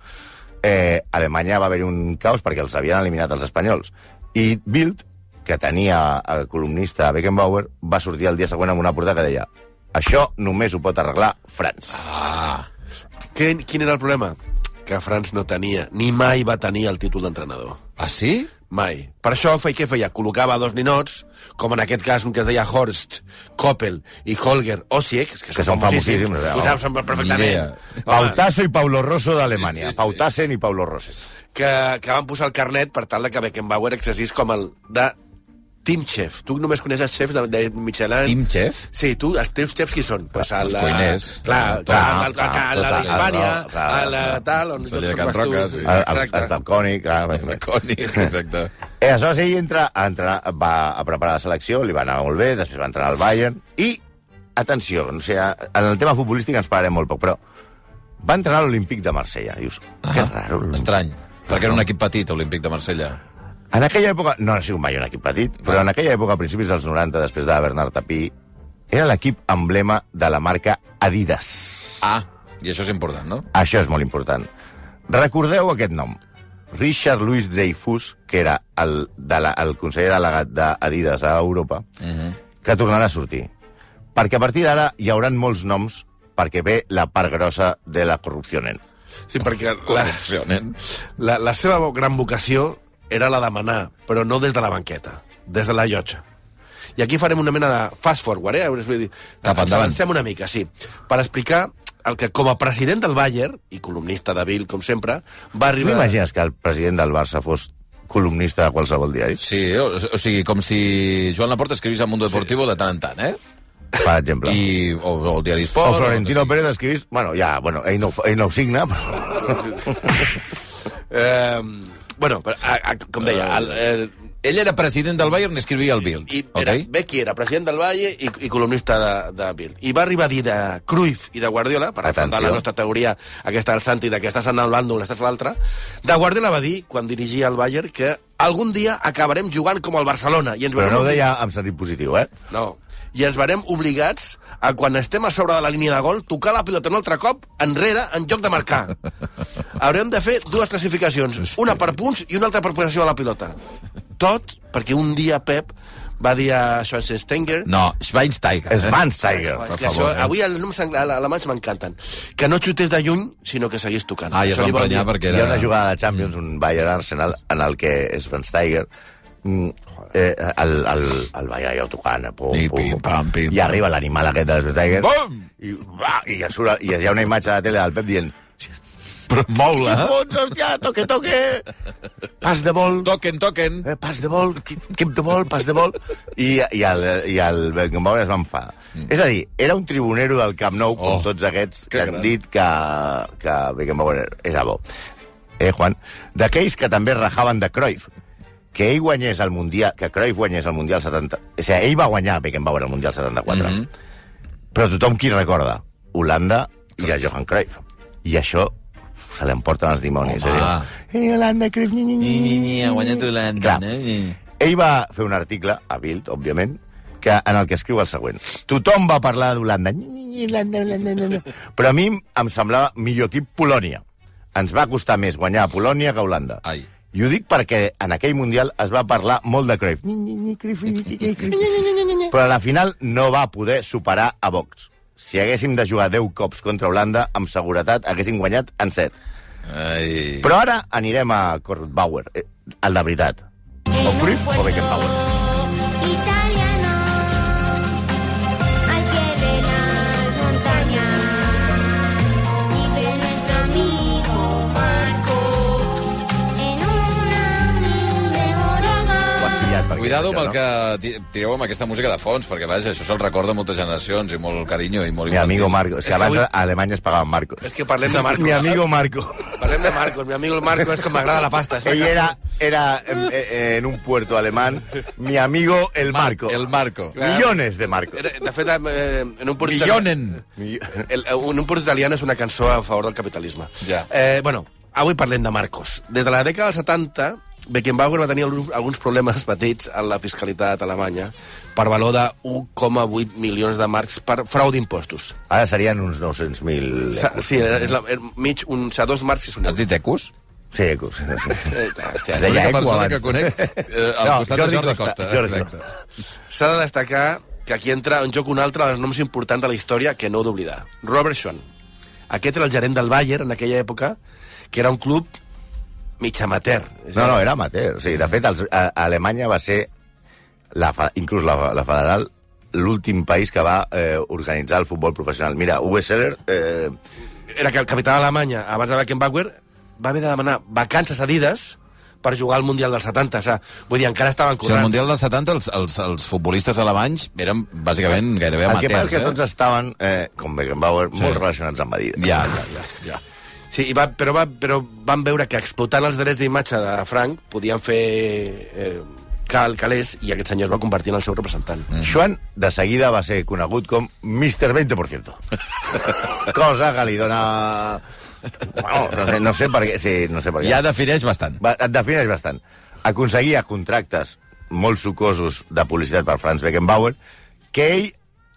Speaker 3: eh, a Alemanya va haver un caos perquè els havien eliminat els espanyols. I Bild, que tenia el columnista Beckenbauer, va sortir el dia següent amb una portada que deia això només ho pot arreglar França.
Speaker 2: Ah,
Speaker 4: Què, quin era el problema? Que Franç no tenia, ni mai va tenir el títol d'entrenador.
Speaker 2: ah sí?
Speaker 4: Mai. Per això, fe, què feia? Col·locava dos ninots, com en aquest cas un que es deia Horst, Koppel i Holger Osiek, que,
Speaker 3: Que són famosíssims, eh,
Speaker 4: Ho saps
Speaker 2: Ni
Speaker 4: perfectament.
Speaker 2: idea.
Speaker 4: Home,
Speaker 3: Pautasso i Paulo Rosso d'Alemanya.
Speaker 2: Sí,
Speaker 3: Sí,
Speaker 2: sí, sí.
Speaker 3: Pautassen i Paulo Rosso.
Speaker 4: que, que van posar el carnet per tal de que Beckenbauer exercís com el de Team Chef. Tu només coneixes xefs de, de Michelin.
Speaker 2: Team Chef?
Speaker 4: Sí, tu, els teus xefs qui són? Pues
Speaker 2: els cuiners.
Speaker 4: Clar,
Speaker 2: Tot,
Speaker 4: clar,
Speaker 2: ah,
Speaker 4: el- el-
Speaker 3: clar,
Speaker 4: el- la
Speaker 3: tot,
Speaker 4: d'Hispània,
Speaker 3: clar, clar,
Speaker 4: la
Speaker 3: clar.
Speaker 4: tal... On
Speaker 2: Celler
Speaker 4: tots
Speaker 2: de Can
Speaker 4: vas tu.
Speaker 2: Roca, sí.
Speaker 3: El, el, el
Speaker 4: Exacte.
Speaker 3: del Cònic. clar.
Speaker 2: Lacònic, exacte.
Speaker 3: Eh, aleshores ell entra, a entrenar, va a preparar la selecció, li va anar molt bé, després va entrar al Bayern, i, atenció, o sigui, en el tema futbolístic ens pararem molt poc, però va entrar a l'Olímpic de Marsella. Dius, que
Speaker 4: Ah,
Speaker 3: raro. l'Olímpic.
Speaker 2: Estrany, perquè era un equip petit, Olímpic de Marsella.
Speaker 3: En aquella època, no ha sigut mai un equip petit, però en aquella època, a principis dels 90, després de Bernard Tapí, era l'equip emblema de la marca Adidas.
Speaker 2: Ah, i això és important, no?
Speaker 3: Això és molt important. Recordeu aquest nom. Richard Louis Dreyfus, que era el, de la, el conseller delegat d'Adidas a Europa,
Speaker 2: Uh -huh.
Speaker 3: que tornarà a sortir. Perquè a partir d'ara hi haurà molts noms perquè ve la part grossa de la corrupció, nen.
Speaker 4: Sí, perquè la,
Speaker 2: Corrupció, nen.
Speaker 4: la, la seva gran vocació era la de manar, però no des de la banqueta, des de la llotja. I aquí farem una mena de fast forward, eh? Vull dir,
Speaker 2: Cap endavant.
Speaker 4: Avancem una mica, sí. Per explicar el que, com a president del Bayern, i columnista de Bill, com sempre, va
Speaker 3: Tu
Speaker 4: arribar...
Speaker 3: imagines que el president del Barça fos columnista de qualsevol diari?
Speaker 2: Sí, o, o sigui, com si Joan Laporta escrivís a Mundo Deportivo sí. de tant en tant, eh?
Speaker 3: Per exemple. I...
Speaker 2: I, o, o el diari
Speaker 3: O
Speaker 2: Esport...
Speaker 3: Florentino Pérez escrivís... Bueno, ja, bueno, ell no, ho fa- ell no ho signa, però...
Speaker 4: Eh, bueno, però, a, a, com deia, el, el,
Speaker 2: Ell era president del Bayern i escrivia el Bild,
Speaker 4: I era,
Speaker 2: ok?
Speaker 4: Becchi era president del Valle i, i columnista de, de Bild. I va arribar a dir de Cruyff i de Guardiola, per
Speaker 3: Atenció.
Speaker 4: afrontar la nostra teoria, aquesta del Santi, de que estàs en el bàndol, estàs a l'altre, de Guardiola va dir, quan dirigia el Bayern, que algun dia acabarem jugant com el Barcelona. I ens
Speaker 3: Però
Speaker 4: veurem
Speaker 3: no ho
Speaker 4: obli-
Speaker 3: deia amb sentit positiu, eh?
Speaker 4: No. I ens verem obligats a, quan estem a sobre de la línia de gol, tocar la pilota un altre cop enrere en lloc de marcar. Haurem de fer dues classificacions, una per punts i una altra per possessió de la pilota. Tot perquè un dia Pep va dir a Schwarzenstenger...
Speaker 2: No, Schweinsteiger. eh?
Speaker 3: És Schweinsteiger,
Speaker 4: És
Speaker 3: per
Speaker 4: que
Speaker 3: favor.
Speaker 4: això, avui el nom sang- a- a- alemanys m'encanten. Que no xutés de lluny, sinó que seguís tocant.
Speaker 2: Ah, i es va
Speaker 4: Això li vol
Speaker 2: emprenyar
Speaker 4: dir-
Speaker 2: perquè
Speaker 3: Era... Hi ha
Speaker 2: era...
Speaker 3: una jugada de Champions, un Bayern-Arsenal, en el que és Schweinsteiger mm, eh, el, el, el Bayern allò tocant, eh, pum,
Speaker 2: I
Speaker 3: pum,
Speaker 2: pim,
Speaker 3: pum,
Speaker 2: pam, pim,
Speaker 3: i arriba l'animal aquest de Schweinsteiger,
Speaker 2: Bum!
Speaker 3: i, va, i, ja surt, i hi ha una imatge de la tele del Pep dient
Speaker 2: Però
Speaker 3: qui
Speaker 2: mou-la.
Speaker 3: fots, hòstia, toque, toque, pas de vol,
Speaker 2: Toquen, toquen.
Speaker 3: eh, pas de vol, equip de vol, pas de vol, i, i, el, i el Beckenbauer es va enfadar. Mm. És a dir, era un tribunero del Camp Nou, com
Speaker 2: Oh,
Speaker 3: tots aquests
Speaker 2: que
Speaker 3: que, han
Speaker 2: gran.
Speaker 3: dit que, que Beckenbauer era bo. Eh, Juan? D'aquells que també rajaven de Cruyff, que ell guanyés el Mundial, que Cruyff guanyés el Mundial 70... O sigui, ell va guanyar Beckenbauer el Mundial 74. Mm
Speaker 2: Mhm.
Speaker 3: -hmm. Però tothom qui recorda? Holanda i el Johan Cruyff. I això se l'emporten els dimonis.
Speaker 2: Home.
Speaker 3: Eh? Ei, Holanda, Cruyff, ni, ni, ni, Clar, ell va fer un article, a Bild, òbviament, que, en el que escriu el següent. Tothom va parlar d'Holanda. Ni, ni, ni, Holanda, Holanda, Holanda. Però a mi em semblava millor equip Polònia. Ens va costar més guanyar a Polònia que a Holanda.
Speaker 2: Ai.
Speaker 3: I ho dic perquè en aquell Mundial es va parlar molt de Cruyff. Ni, ni, ni, Cruyff, ni, ni, ni, Cruyff. Però a la final no va poder superar a Vox. Si haguéssim de jugar 10 cops contra Holanda, amb seguretat haguéssim guanyat en 7.
Speaker 2: Ai.
Speaker 3: Però ara anirem a Kurt Bauer, eh, el de veritat. O Cruyff o Beckenbauer.
Speaker 6: Italiano, al pie de las montañas, vive nuestro amigo Marco en una humilde
Speaker 3: Ho has
Speaker 6: morada.
Speaker 3: pillat. perquè-
Speaker 2: Cuidado
Speaker 3: això,
Speaker 2: pel
Speaker 3: no?
Speaker 2: que ti- tireu amb aquesta música de fons, perquè vaja, això se'l recorda a moltes generacions i molt carinyo i molt
Speaker 3: Mi amigo Marco. És que abans
Speaker 4: avui-
Speaker 3: a Alemanya es pagaven Marcos.
Speaker 4: És que parlem de Marcos.
Speaker 3: Mi amigo Marco.
Speaker 4: Parlem de Marcos. Mi amigo el Marco és com m'agrada la pasta.
Speaker 3: Ell era, era en, en un puerto alemán. Mi amigo el Marco.
Speaker 2: El Marco.
Speaker 4: Clar.
Speaker 3: Millones de Marcos.
Speaker 4: Era- De fet, eh, en un porto...
Speaker 2: Millonen.
Speaker 3: Millo-
Speaker 4: El, en un port italià és una cançó a favor del capitalisme.
Speaker 2: Ja.
Speaker 4: Eh, bueno, avui parlem de Marcos. Des de la dècada dels 70, Beckenbauer va tenir alguns- alguns problemes petits en la fiscalitat alemanya per valor de 1,8 milions de marcs per frau d'impostos.
Speaker 3: Ara serien uns 900.000
Speaker 4: Sa-
Speaker 3: euros.
Speaker 4: Sí, és la, és mig, un, o sigui, dos marcs i un
Speaker 2: Has
Speaker 4: euro.
Speaker 2: dit ecus?
Speaker 3: Sí, ecos.
Speaker 4: Eh, hòstia,
Speaker 2: L'única
Speaker 3: Es deia eco
Speaker 2: persona
Speaker 3: abans.
Speaker 2: que conec eh, al
Speaker 3: No,
Speaker 2: costat
Speaker 3: Jordi
Speaker 2: de Jordi
Speaker 3: Costa,
Speaker 2: Costa.
Speaker 3: Jordi
Speaker 2: exacte.
Speaker 4: S'ha de destacar que aquí entra en joc un altre dels noms importants de la història que no heu d'oblidar. Robert Schwan. Aquest era el gerent del Bayern en aquella època, que era un club mig amateur. És a
Speaker 3: No, no, era amateur. Sí, de fet, els, a, a Alemanya va ser, la, fe- inclús la, la federal, l'últim país que va eh, organitzar el futbol professional. Mira, Uwe Seller... Eh,
Speaker 4: era que el capità d'Alemanya, abans de Beckenbauer, va haver de demanar vacances adides per jugar al Mundial dels 70. O sigui, vull dir, encara
Speaker 2: O
Speaker 4: estaven
Speaker 2: sigui, al
Speaker 4: corrent.
Speaker 2: Mundial dels 70 els, els, els futbolistes alemanys eren bàsicament gairebé
Speaker 3: el
Speaker 2: amateurs.
Speaker 3: que passa és que
Speaker 2: eh?
Speaker 3: tots estaven, eh, com Beckenbauer, sí. molt relacionats amb Adidas.
Speaker 2: Ja, ja, ja. ja.
Speaker 4: Sí, i va, però, va, però van veure que explotant els drets d'imatge de Frank podien fer eh, cal, calés i aquest senyor es va convertir en el seu representant. Mm.
Speaker 3: Joan, de seguida, va ser conegut com Mr. 20%. Cosa que li dona... Bueno, no, sé, no sé per què... Sí, no sé per què.
Speaker 2: Ja defineix bastant.
Speaker 3: Va, et defineix bastant. Aconseguia contractes molt sucosos de publicitat per Franz Beckenbauer que ell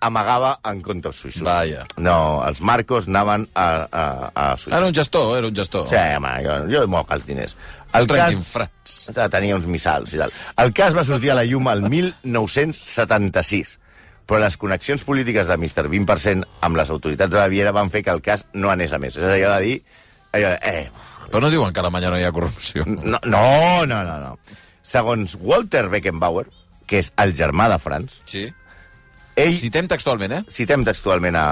Speaker 3: amagava en comptes suïssos.
Speaker 2: Vaja. Ah,
Speaker 3: No, els marcos anaven a, a, a Suïssa.
Speaker 2: Era un gestor, era un gestor.
Speaker 3: Sí, home, jo, jo moc els diners. El cas
Speaker 2: Tranquil·frats.
Speaker 3: tenia uns missals i tal. El cas va sortir a la llum el 1976, però les connexions polítiques de Mr. 20% amb les autoritats de Baviera van fer que el cas no anés a més. És allò de dir... Allò de, eh,
Speaker 2: Però no diuen que a Alemanya no hi ha corrupció.
Speaker 3: no, no, no, no, no. Segons Walter Beckenbauer, que és el germà de Franz,
Speaker 2: Sí.
Speaker 3: ell, sí.
Speaker 2: Citem textualment, eh?
Speaker 3: citem textualment a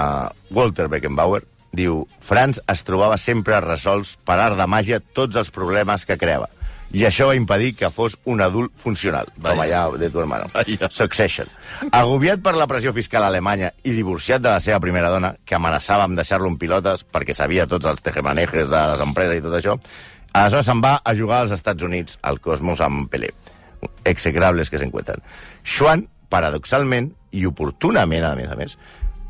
Speaker 3: Walter Beckenbauer, diu, Franz es trobava sempre resolts per art de màgia tots els problemes que creava. I això va impedir que fos un adult funcional, Vaya. com
Speaker 2: Vaja.
Speaker 3: allà de tu hermano.
Speaker 2: Vaja.
Speaker 3: Succession. Agobiat per la pressió fiscal alemanya i divorciat de la seva primera dona, que amenaçava amb deixar-lo en pilotes perquè sabia tots els tejemanejes de les empreses i tot això, aleshores se'n va a jugar als Estats Units, al Cosmos amb Pelé. Execrables que s'encuentren. Schwan, paradoxalment i oportunament, a més a més,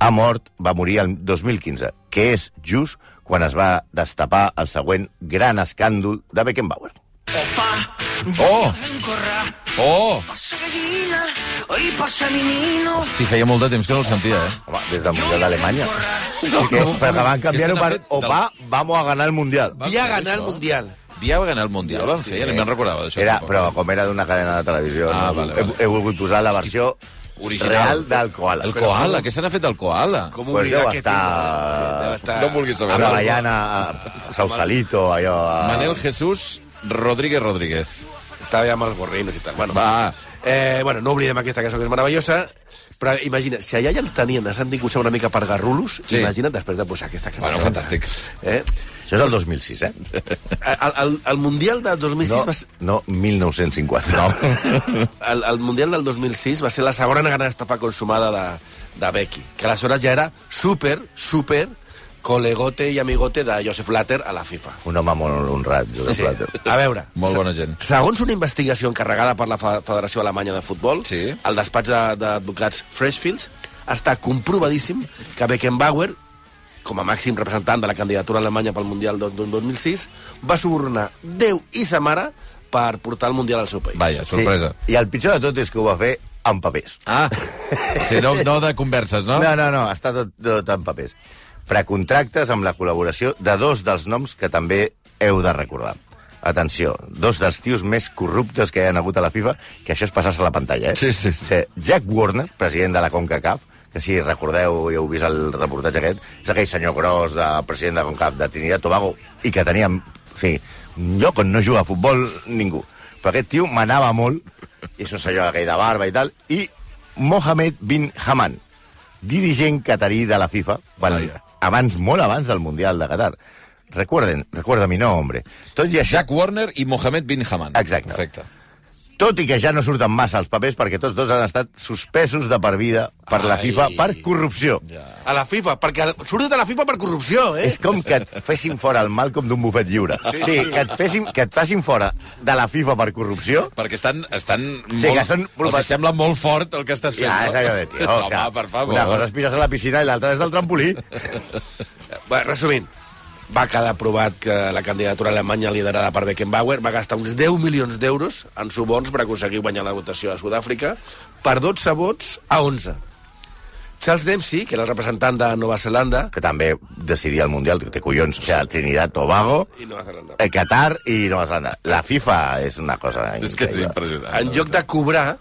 Speaker 3: ha mort, va morir el 2015, que és just quan es va destapar el següent gran escàndol de Beckenbauer.
Speaker 2: Oh! Oh! Hosti, feia molt de temps que no el sentia, eh?
Speaker 3: Home, des del Mundial d'Alemanya. No, que,
Speaker 2: com-
Speaker 3: però que van canviar-ho
Speaker 2: que se n'ha
Speaker 3: per
Speaker 2: fet del-
Speaker 3: Opa, vamos a ganar el Mundial.
Speaker 2: Va
Speaker 4: Via
Speaker 2: fer
Speaker 4: ganar el
Speaker 2: això?
Speaker 4: Mundial.
Speaker 2: Dia va ganar el Mundial, el van fer, ni me'n recordava d'això.
Speaker 3: Era,
Speaker 2: tampoc.
Speaker 3: però com era d'una cadena de televisió,
Speaker 2: Ah,
Speaker 3: no?
Speaker 2: vale, vale.
Speaker 3: He, he volgut posar la versió
Speaker 2: Original.
Speaker 3: real del Koala.
Speaker 2: El Koala, què se n'ha fet del Koala?
Speaker 4: Com
Speaker 3: Pues
Speaker 4: oblidar
Speaker 3: deu
Speaker 4: aquest
Speaker 3: estar-
Speaker 4: temps? Sí, deu estar...
Speaker 2: No em vulguis
Speaker 3: A
Speaker 2: saber.
Speaker 3: la Baiana, a eh, Sausalito, allò... eh. A...
Speaker 2: Manel Jesús Rodríguez Rodríguez.
Speaker 4: Estava ja amb els gorrinos i tal. Bueno,
Speaker 2: Va.
Speaker 4: Eh, bueno, no oblidem aquesta cançó que és meravellosa, però imagina, si allà ja ens tenien, ens han tingut una mica per garrulos,
Speaker 2: Sí.
Speaker 4: sí. imagina't després de posar aquesta cançó.
Speaker 2: Bueno, fantàstic.
Speaker 4: Eh?
Speaker 3: Això és el 2006, eh?
Speaker 4: El, el, el Mundial del 2006
Speaker 3: No,
Speaker 4: va ser...
Speaker 3: no 1950. No.
Speaker 4: El, el Mundial del 2006 va ser la segona gran estafa consumada de, de Becky, que aleshores ja era super, super col·legote i amigote de Joseph Blatter a la FIFA.
Speaker 3: Un home molt honrat, Josep
Speaker 4: Sí.
Speaker 3: Plater.
Speaker 4: A veure,
Speaker 2: Molt bona gent.
Speaker 4: Segons una investigació encarregada per la Fe- Federació Alemanya de Futbol,
Speaker 2: Sí.
Speaker 4: al despatx de- d'advocats Freshfields, està comprovadíssim que Beckenbauer, com a màxim representant de la candidatura alemanya pel Mundial del 2006, va subornar Déu i sa mare per portar el Mundial al seu país.
Speaker 2: Vaja, sorpresa.
Speaker 3: Sí. I el pitjor de tot és que ho va fer amb papers.
Speaker 2: Ah, sí, no, no de converses, no?
Speaker 3: No, no, no, està tot, tot en papers. Precontractes amb la col·laboració de dos dels noms que també heu de recordar. Atenció, dos dels tios més corruptes que hi ha hagut a la FIFA, que això és passar-se a la pantalla, eh?
Speaker 2: Sí, sí.
Speaker 3: O sigui, Jack Warner, president de la CONCACAF, que si recordeu i heu vist el reportatge aquest, és aquell senyor gros de president de CONCACAF de Trinidad Tobago i que tenia... O sigui, un lloc on no juga a futbol ningú. Però aquest tio manava molt, i és un senyor aquell de barba i tal, i Mohamed bin Haman, dirigent catarí de la FIFA, quan,
Speaker 2: Vaja.
Speaker 3: abans, molt abans del Mundial de Qatar. Recuerden, recuerda mi no, hombre. Tot i això,
Speaker 2: Jack Warner i Mohamed Bin Haman.
Speaker 3: Exacte.
Speaker 2: Perfecte.
Speaker 3: tot i que ja no surten massa els papers perquè tots dos han estat suspesos de per vida per la
Speaker 2: Ai.
Speaker 3: FIFA per corrupció.
Speaker 4: A la FIFA, perquè surten de la FIFA per corrupció, eh?
Speaker 3: És com que et fessin fora el Malcolm d'un bufet lliure. Sí, sí. que, et fessin, que et facin fora de la FIFA per corrupció,
Speaker 2: Perquè estan... estan
Speaker 3: Sí, que són
Speaker 2: els
Speaker 3: profe-
Speaker 2: hi sembla molt fort el que estàs fent.
Speaker 3: ja,
Speaker 2: no?
Speaker 3: és allò de tio.
Speaker 2: Home,
Speaker 3: o sea,
Speaker 2: per favor.
Speaker 3: Una cosa és pisar a la piscina i l'altra és del trampolí.
Speaker 4: Bé, resumint, va quedar aprovat que la candidatura alemanya liderada per Beckenbauer va gastar uns 10 milions d'euros en subons per aconseguir guanyar la votació a Sud-àfrica per 12 vots a 11. Charles Dempsey, que era el representant de Nova Zelanda...
Speaker 3: Que també decidia el Mundial, que té collons. O sigui, Trinidad, Tobago,
Speaker 4: I Nova Zelanda.
Speaker 3: eh, Qatar i Nova Zelanda. La FIFA és una cosa
Speaker 2: És que és impressionant.
Speaker 4: En lloc de cobrar,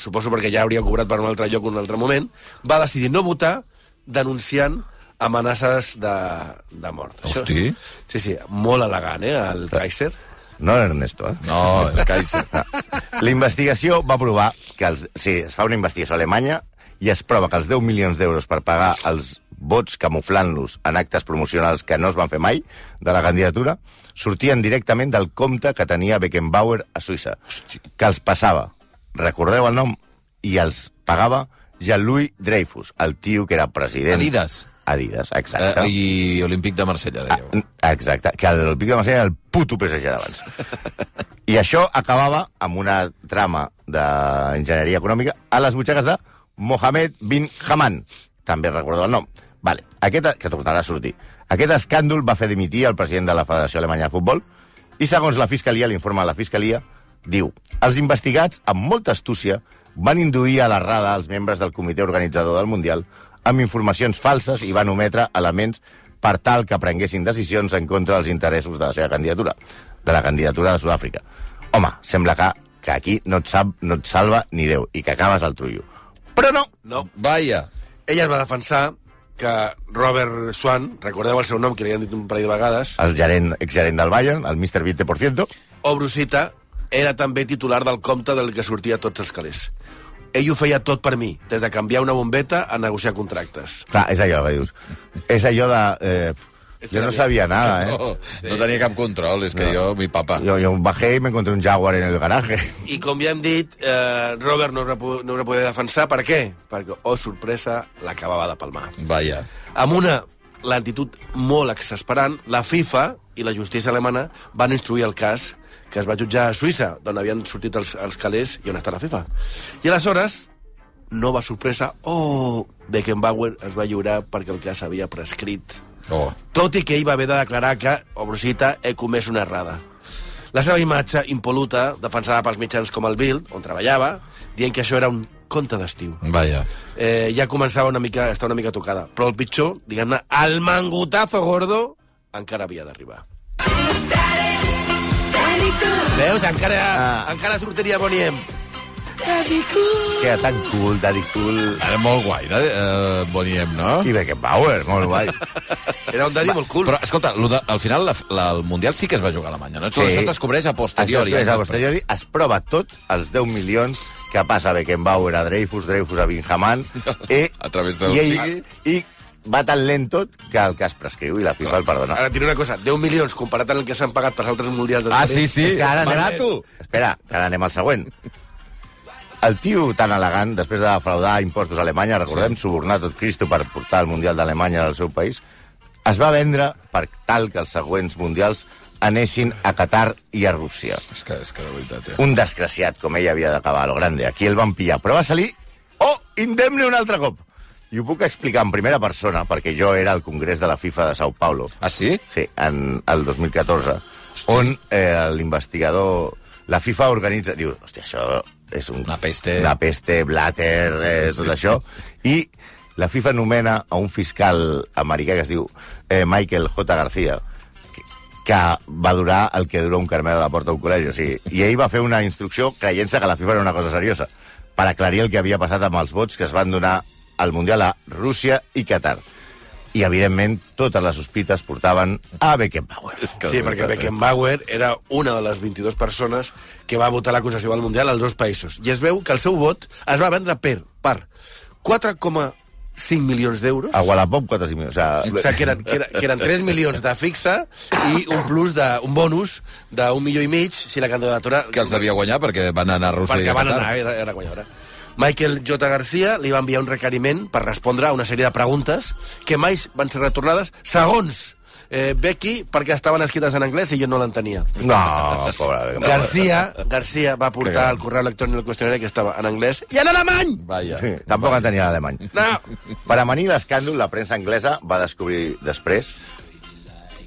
Speaker 4: suposo perquè ja hauria cobrat per un altre lloc un altre moment, va decidir no votar denunciant amenaces de, de mort. Això-
Speaker 2: Hosti.
Speaker 4: Sí, sí, molt elegant, eh, el Kaiser.
Speaker 3: No, Ernesto, eh?
Speaker 2: No, el Kaiser.
Speaker 3: La investigació va provar que els... Sí, es fa una investigació a Alemanya i es prova que els 10 milions d'euros per pagar els vots camuflant-los en actes promocionals que no es van fer mai de la candidatura sortien directament del compte que tenia Beckenbauer a Suïssa, Hosti. que els passava, recordeu el nom, i els pagava Jean-Louis Dreyfus, el tio que era president...
Speaker 2: Adidas.
Speaker 3: Adidas, exacte.
Speaker 2: Eh, I Olímpic de Marsella, dèieu.
Speaker 3: Ah, Exacte, que el Pic de Marsella era el puto PSG d'abans. I això acabava amb una trama d'enginyeria econòmica a les butxaques de Mohamed bin Haman. També recordo el nom. Vale. Aquest, que tornarà a sortir. Aquest escàndol va fer dimitir el president de la Federació Alemanya de Futbol i, segons la Fiscalia, l'informe de la Fiscalia, diu els investigats, amb molta astúcia, van induir a l'errada els membres del comitè organitzador del Mundial amb informacions falses i van ometre elements per tal que prenguessin decisions en contra dels interessos de la seva candidatura, de la candidatura de Sud-àfrica. Home, sembla que, que aquí no et, sap, no et salva ni Déu i que acabes al trullo. Però no!
Speaker 4: No.
Speaker 2: Vaja.
Speaker 4: Ella es va defensar que Robert Swan, recordeu el seu nom, que li han dit un parell de vegades,
Speaker 3: El gerent, exgerent del Bayern, el Mr. 20%,
Speaker 4: o Brusita, era també titular del compte del que sortia tots els calés. Ell ho feia tot per mi, des de canviar una bombeta a negociar contractes.
Speaker 3: clar, és allò que dius. És allò de... Eh, jo no sabia nada,
Speaker 2: No,
Speaker 3: eh?
Speaker 2: no tenia cap control, és que jo, mi papa.
Speaker 3: Yo, yo bajé y me encontré un Jaguar en el garaje.
Speaker 4: I com ja hem dit, eh, Robert no es va po- no es va poder defensar. Per què? Perquè, oh, sorpresa, l'acabava de palmar.
Speaker 2: Vaja.
Speaker 4: Amb una lentitud molt exasperant, la FIFA i la justícia alemana van instruir el cas que es va jutjar a Suïssa, d'on havien sortit els, els calés i on està la FIFA. I aleshores, nova sorpresa, oh, Beckenbauer es va lliurar perquè el cas havia prescrit.
Speaker 2: Oh.
Speaker 4: Tot i que ell va haver de declarar que, obrosita, he comès una errada. La seva imatge impoluta, defensada pels mitjans com el Bild, on treballava, dient que això era un conte d'estiu
Speaker 2: Vaja.
Speaker 4: eh, ja començava una mica, a estar una mica tocada. Però el pitjor, diguem-ne, el mangutazo gordo, encara havia d'arribar. Veus? Encara, ah. encara sortiria Boniem.
Speaker 3: Que era tan cool, daddy cool.
Speaker 2: Era molt guai, de, eh, Boniem, no?
Speaker 3: I Beckenbauer, molt guai.
Speaker 4: Era un dadi molt cool.
Speaker 2: Però, escolta, lo de, al final la, la, el Mundial sí que es va jugar a Alemanya, no?
Speaker 3: Sí.
Speaker 2: Això es descobreix a
Speaker 3: Això
Speaker 2: posteriori.
Speaker 3: és
Speaker 2: eh?
Speaker 3: a posteriori. Es prova tot, els 10 milions que passa a Beckenbauer, a Dreyfus, Dreyfus a Binhaman. I,
Speaker 2: A través del
Speaker 3: i, ell,
Speaker 2: sigui.
Speaker 3: I va tan lent tot que el cas prescriu i la FIFA el perdona.
Speaker 4: Ara, et diré una cosa, 10 milions comparat amb el que s'han pagat pels altres mundials
Speaker 2: Ah,
Speaker 4: després.
Speaker 2: sí, sí.
Speaker 3: És que ara anem...
Speaker 2: Barato.
Speaker 3: Espera, que ara anem al següent. El tio tan elegant, després de defraudar impostos a Alemanya, recordem,
Speaker 2: Sí.
Speaker 3: sí. subornar tot Cristo per portar el Mundial d'Alemanya al seu país, es va vendre per tal que els següents Mundials anessin a Qatar i a Rússia.
Speaker 2: És que, és que de veritat, eh?
Speaker 3: Un desgraciat, com ell havia d'acabar a lo grande. Aquí el van pillar, però va salir oh, indemne un altre cop. I ho puc explicar en primera persona, perquè jo era al Congrés de la FIFA de Sao Paulo.
Speaker 2: Ah, sí?
Speaker 3: Sí, en el 2014, Hosti. on eh, l'investigador... La FIFA organitza... Diu, hòstia, això és un,
Speaker 2: Una peste.
Speaker 3: Una peste, blatter, eh,
Speaker 2: Sí.
Speaker 3: tot això. I la FIFA nomena a un fiscal americà que es diu eh, Michael J. García, que, que va durar el que dura un carmelo de la porta d'un col·legi. O sigui, I ell va fer una instrucció creient-se que la FIFA era una cosa seriosa per aclarir el que havia passat amb els vots que es van donar al Mundial a Rússia i Qatar. i, evidentment, totes les sospites portaven a Beckenbauer.
Speaker 2: Que
Speaker 4: Sí,
Speaker 2: de
Speaker 4: perquè
Speaker 2: veritat, eh?
Speaker 4: Beckenbauer era una de les 22 persones que va votar la concessió al Mundial als dos països. I es veu que el seu vot es va vendre per, per 4,5 milions d'euros.
Speaker 2: Ah,
Speaker 3: A Wallapop, 4 i... O
Speaker 4: O
Speaker 3: sigui,
Speaker 4: sigui, que eren, que, eren, que eren 3 milions de fixa i un plus de, un bonus d'un milió i mig si la candidatura...
Speaker 2: Que els devia guanyar perquè van anar a Rússia i
Speaker 4: perquè
Speaker 2: a
Speaker 4: van
Speaker 2: Qatar.
Speaker 4: anar, era, era guanyadora. Michael J. Garcia li va enviar un requeriment per respondre a una sèrie de preguntes que mai van ser retornades segons eh, Becky perquè estaven escrites en anglès i jo no l'entenia.
Speaker 3: no, pobra Beckenbauer.
Speaker 4: Garcia, Garcia va portar
Speaker 2: gran.
Speaker 4: el correu electrònic del qüestionari que estava en anglès i en alemany!
Speaker 2: Vaja.
Speaker 3: eh? Sí, tampoc en tenia l'alemany.
Speaker 4: No!
Speaker 3: Per amanir l'escàndol, la premsa anglesa va descobrir després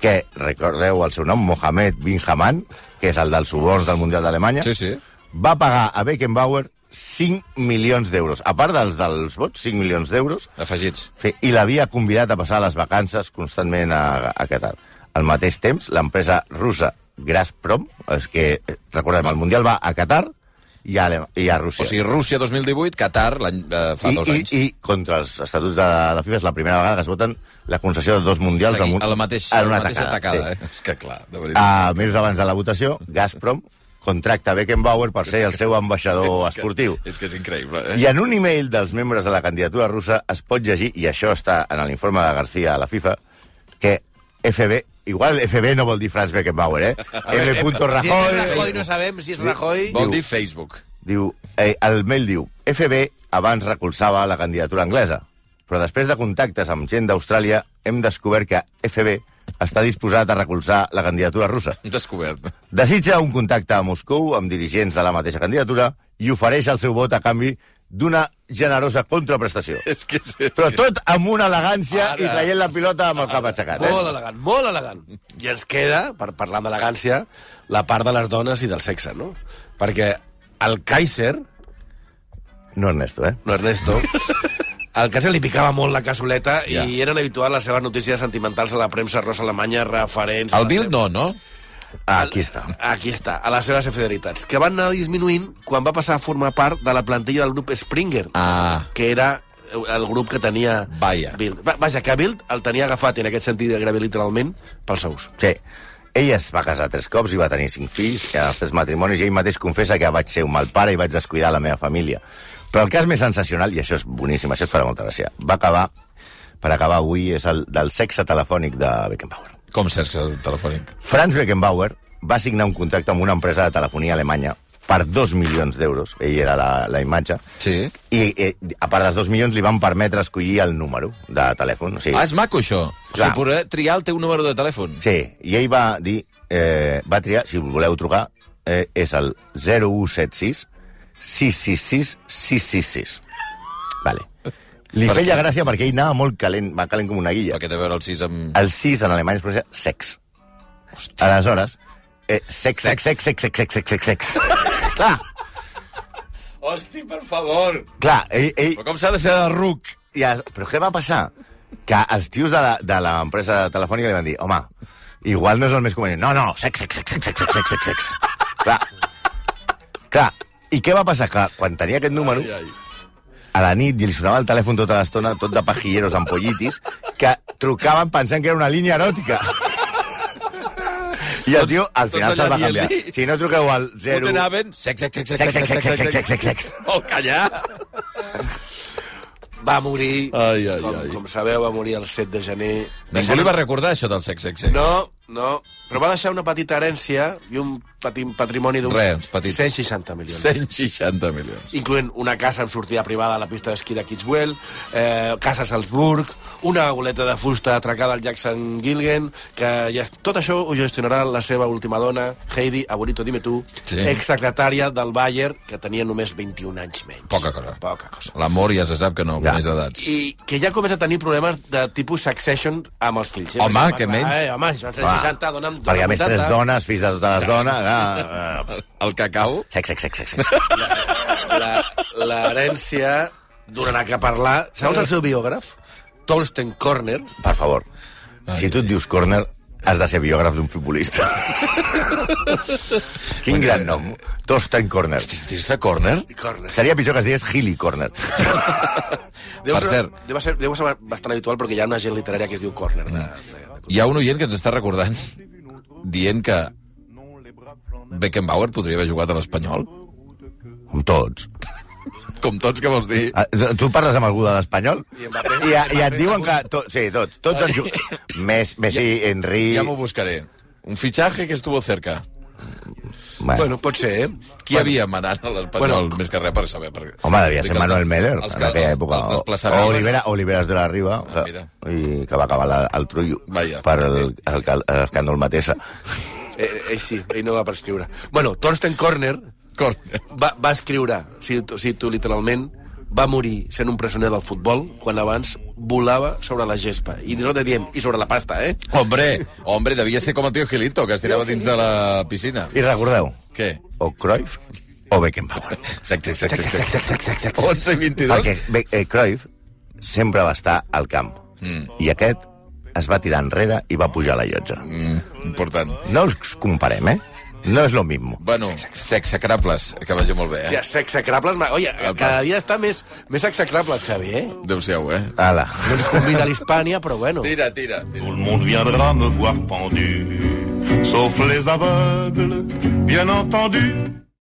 Speaker 3: que, recordeu el seu nom, Mohamed Bin Haman, que és el dels suborns del Mundial d'Alemanya,
Speaker 2: Sí, sí.
Speaker 3: va pagar a Beckenbauer 5 milions d'euros. A part dels dels vots, 5 milions d'euros,
Speaker 2: Afegits.
Speaker 3: Sí, i l'havia convidat a passar les vacances constantment a, a Qatar. Al mateix temps, l'empresa russa Gazprom, és que, eh, recordem, el Mundial va a Qatar i a, Ale- i a
Speaker 2: O
Speaker 3: Rússia.
Speaker 2: sigui, Rússia 2018, Qatar, l'any eh, fa
Speaker 3: I,
Speaker 2: dos anys.
Speaker 3: i, I contra els estatuts de, de FIFA és la primera vegada que es voten la concessió de dos mundials
Speaker 2: Seguir,
Speaker 3: en un-
Speaker 2: a la mateixa,
Speaker 3: Ah, en
Speaker 2: a
Speaker 3: una
Speaker 2: la mateixa atacada.
Speaker 3: sí. Ah,
Speaker 2: eh? És que clar, de veritat.
Speaker 3: A mesos abans de la votació, Gazprom contracta Beckenbauer per ser el seu ambaixador esportiu.
Speaker 2: És que és increïble, eh?
Speaker 3: I en un e-mail dels membres de la candidatura russa es pot llegir, i això està en l'informe de García a la FIFA, que FB, igual FB no vol dir Franz Beckenbauer, eh? M. punto
Speaker 4: Si és
Speaker 3: Rajoy...
Speaker 4: Rajoy no sabem si és Rajoy...
Speaker 2: Vol
Speaker 3: diu-
Speaker 2: dir Facebook.
Speaker 3: Diu, eh, el mail diu, FB abans recolzava la candidatura anglesa, però després de contactes amb gent d'Austràlia hem descobert que FB està disposat a recolzar la candidatura russa.
Speaker 2: Descobert.
Speaker 3: Desitja un contacte a Moscou amb dirigents de la mateixa candidatura i ofereix el seu vot a canvi d'una generosa contraprestació.
Speaker 2: És que és... és
Speaker 3: Però
Speaker 2: que-
Speaker 3: tot amb una elegància
Speaker 2: Ara.
Speaker 3: i traient la pilota amb el cap aixecat.
Speaker 4: Molt
Speaker 3: Eh?
Speaker 4: elegant, molt elegant. I ens queda, per parlar d'elegància, la part de les dones i del sexe, no? Perquè el Kaiser,
Speaker 3: No, Ernesto, eh?
Speaker 4: no Ernesto, al Kaiser li picava molt la cassoleta
Speaker 2: Ja.
Speaker 4: i eren habituals les seves notícies sentimentals a la premsa rosa alemanya referents... a
Speaker 2: El
Speaker 4: la
Speaker 2: Bill
Speaker 4: seva-
Speaker 2: no, no?
Speaker 3: Ah, Aquí està.
Speaker 4: Aquí està, a les seves infidelitats, que van anar disminuint quan va passar a formar part de la plantilla del grup Springer,
Speaker 2: Ah,
Speaker 4: que era el grup que tenia
Speaker 2: Vaya.
Speaker 4: Bild. Va- Vaja, que Bild el tenia agafat, en aquest sentit, gairebé literalment, pels ous.
Speaker 3: Sí. Ell es va casar tres cops i va tenir cinc fills, que en els tres matrimonis, i ell mateix confessa que vaig ser un mal pare i vaig descuidar la meva família. Però el cas més sensacional, i això és boníssim, això et farà molta gràcia, va acabar, per acabar avui, és el del sexe telefònic de Beckenbauer.
Speaker 2: com sexe telefònic?
Speaker 3: Franz Beckenbauer va signar un contracte amb una empresa de telefonia alemanya per 2 milions d'euros, ell era la, la imatge,
Speaker 2: Sí.
Speaker 3: i, eh, a part dels 2 milions li van permetre escollir el número de telèfon. O sigui,
Speaker 2: Ah, és maco, això. O sigui,
Speaker 3: Clar.
Speaker 2: poder triar el teu número de telèfon.
Speaker 3: Sí, i ell va dir, eh, va triar, si voleu trucar, eh, és el 0176 666 666. Vale. Li
Speaker 2: Per
Speaker 3: feia
Speaker 2: què?
Speaker 3: gràcia perquè ell anava molt calent, va calent com una guilla.
Speaker 2: Perquè té a veure el 6 amb...
Speaker 3: El 6 en alemany es pronuncia sex. Aleshores, eh, sex, sex, sex, sex, sex, sex, sex, sex, sex. clar,
Speaker 2: Hosti, per favor!
Speaker 3: clar, ell, ell,
Speaker 2: Però com s'ha de ser de ruc?
Speaker 3: I el, però què va passar? Que els tios de la- de l'empresa telefònica li van dir, home, igual no és el més convenient. No, no, sex, sex, sex, sex, sex, sex, sex, sex, sex. Clar. Clar. I què va passar? Que quan tenia aquest número, a la nit i li sonava el telèfon tota l'estona, tot de pajilleros amb pollitis, que trucaven pensant que era una línia eròtica. I el
Speaker 2: Tots-
Speaker 3: tio al
Speaker 2: tots
Speaker 3: final se'l
Speaker 2: allà
Speaker 3: va canviar.
Speaker 2: dient-li.
Speaker 3: Si no truqueu al
Speaker 2: Zero. No
Speaker 3: 0...
Speaker 2: t'anaven? Sex, sex, sex,
Speaker 3: Sex, sex, sex, sex, sex, sex, sex, sex.
Speaker 2: Vol callar?
Speaker 4: Va morir,
Speaker 2: Ai, ai,
Speaker 4: com,
Speaker 2: ai.
Speaker 4: com sabeu, va morir el 7 de gener.
Speaker 2: Ningú li va recordar això del sex, sex, sex.
Speaker 4: No, no, però va deixar una petita herència i un petit patrimoni d'uns
Speaker 2: Res, uns petits.
Speaker 4: 160 milions.
Speaker 2: 160 milions.
Speaker 4: incloent una casa amb sortida privada a la pista d'esquí de Kitzbühel, eh, casa a Salzburg, una goleta de fusta atracada al Jackson Gilgen, que ja, tot això ho gestionarà la seva última dona, Heidi Aburito Dime Tu,
Speaker 2: Sí.
Speaker 4: sí. exsecretària del Bayern, que tenia només 21 anys menys.
Speaker 2: Poca cosa.
Speaker 4: Poca cosa.
Speaker 2: L'amor ja se sap que no,
Speaker 3: Ja.
Speaker 2: ja. més edats.
Speaker 4: I que ja comença a tenir problemes de tipus succession amb els fills.
Speaker 2: Home,
Speaker 4: Perquè,
Speaker 2: que
Speaker 4: clar,
Speaker 2: menys.
Speaker 4: Eh, home, són
Speaker 3: Va.
Speaker 4: 60, dona'm...
Speaker 3: Perquè a més tres
Speaker 4: 80.
Speaker 3: dones, fills de totes les dones... Ah, ah,
Speaker 2: El cacau?
Speaker 3: sex, sex, sex, sex, sex.
Speaker 4: La- l'herència donarà que parlar. Segons el seu biògraf, Tolsten Corner,
Speaker 3: Per favor. Si tu et dius corner, has de ser biògraf d'un futbolista. Quin gran nom. Torsten Corner.
Speaker 2: Dir-se córner?
Speaker 4: Cornes.
Speaker 3: Seria pitjor que es digués Hilly Corner.
Speaker 4: Deu
Speaker 2: Per
Speaker 4: ser,
Speaker 2: cert.
Speaker 4: Deu ser, deu ser bastant habitual perquè hi ha una gent literària que es diu Corner. De,
Speaker 2: Mm.
Speaker 4: de, de...
Speaker 2: Ah, Hi ha un oient que ens està recordant dient que Beckenbauer podria haver jugat a l'Espanyol.
Speaker 3: Com tots.
Speaker 2: Com tots, que vols dir?
Speaker 3: Ah, Tu parles amb algú de l'Espanyol
Speaker 4: I Mbappé-
Speaker 3: i, i et diuen que... To, sí, tots. Tots han jugat. Més, Messi, Henry...
Speaker 2: Ja m'ho buscaré. Un fitxatge que estuvo cerca.
Speaker 3: Bueno.
Speaker 4: Bueno, pot ser, eh?
Speaker 2: Qui bueno, havia manat a l'Espanyol?
Speaker 4: Bueno,
Speaker 2: Bueno, més que res per saber. Per...
Speaker 3: Home, devia
Speaker 2: Perquè
Speaker 3: ser
Speaker 2: els-
Speaker 3: Manuel Meller,
Speaker 2: els
Speaker 3: en
Speaker 2: que-
Speaker 3: aquella
Speaker 2: els-
Speaker 3: època.
Speaker 2: Els
Speaker 3: O-
Speaker 2: desplaçaments...
Speaker 3: O Olivera, Oliveras de la Riba,
Speaker 2: Ah,
Speaker 3: que,
Speaker 2: mira.
Speaker 3: i que va acabar la, el trullo
Speaker 2: Vaja.
Speaker 3: per el- el cal- l'escàndol Matesa.
Speaker 4: Eh, ell sí, ell no va per escriure. Bueno, Thorsten Corner
Speaker 2: Corner.
Speaker 4: va, va escriure, si tu, si tu literalment, va morir sent un presoner del futbol quan abans volava sobre la gespa. I nosaltres diem, i sobre la pasta, eh?
Speaker 2: Hombre, hombre, devia ser com el tio Gilito, que es tirava dins de la piscina.
Speaker 3: I recordeu,
Speaker 2: Què?
Speaker 3: o Cruyff o Beckenbauer.
Speaker 2: Exacte, exacte, exacte. 11 i 22?
Speaker 3: Perquè Be eh, Cruyff sempre va estar al camp. Mm. I aquest es va tirar enrere i va pujar a la llotja.
Speaker 2: Mm, important.
Speaker 3: No els comparem, eh? No és lo mismo.
Speaker 2: Bueno, sexacrables, que vagi molt bé, eh?
Speaker 4: Ja, sexacrables... ma- Oye, cada dia està més, més sexacrable, Xavi, eh?
Speaker 2: Adéu-siau, eh?
Speaker 3: Ala.
Speaker 4: No ens convida a l'Hispània, però bueno.
Speaker 2: Tira, tira, tira.
Speaker 1: Tout le monde viendra me voir pendu, sauf les aveugles, bien entendu.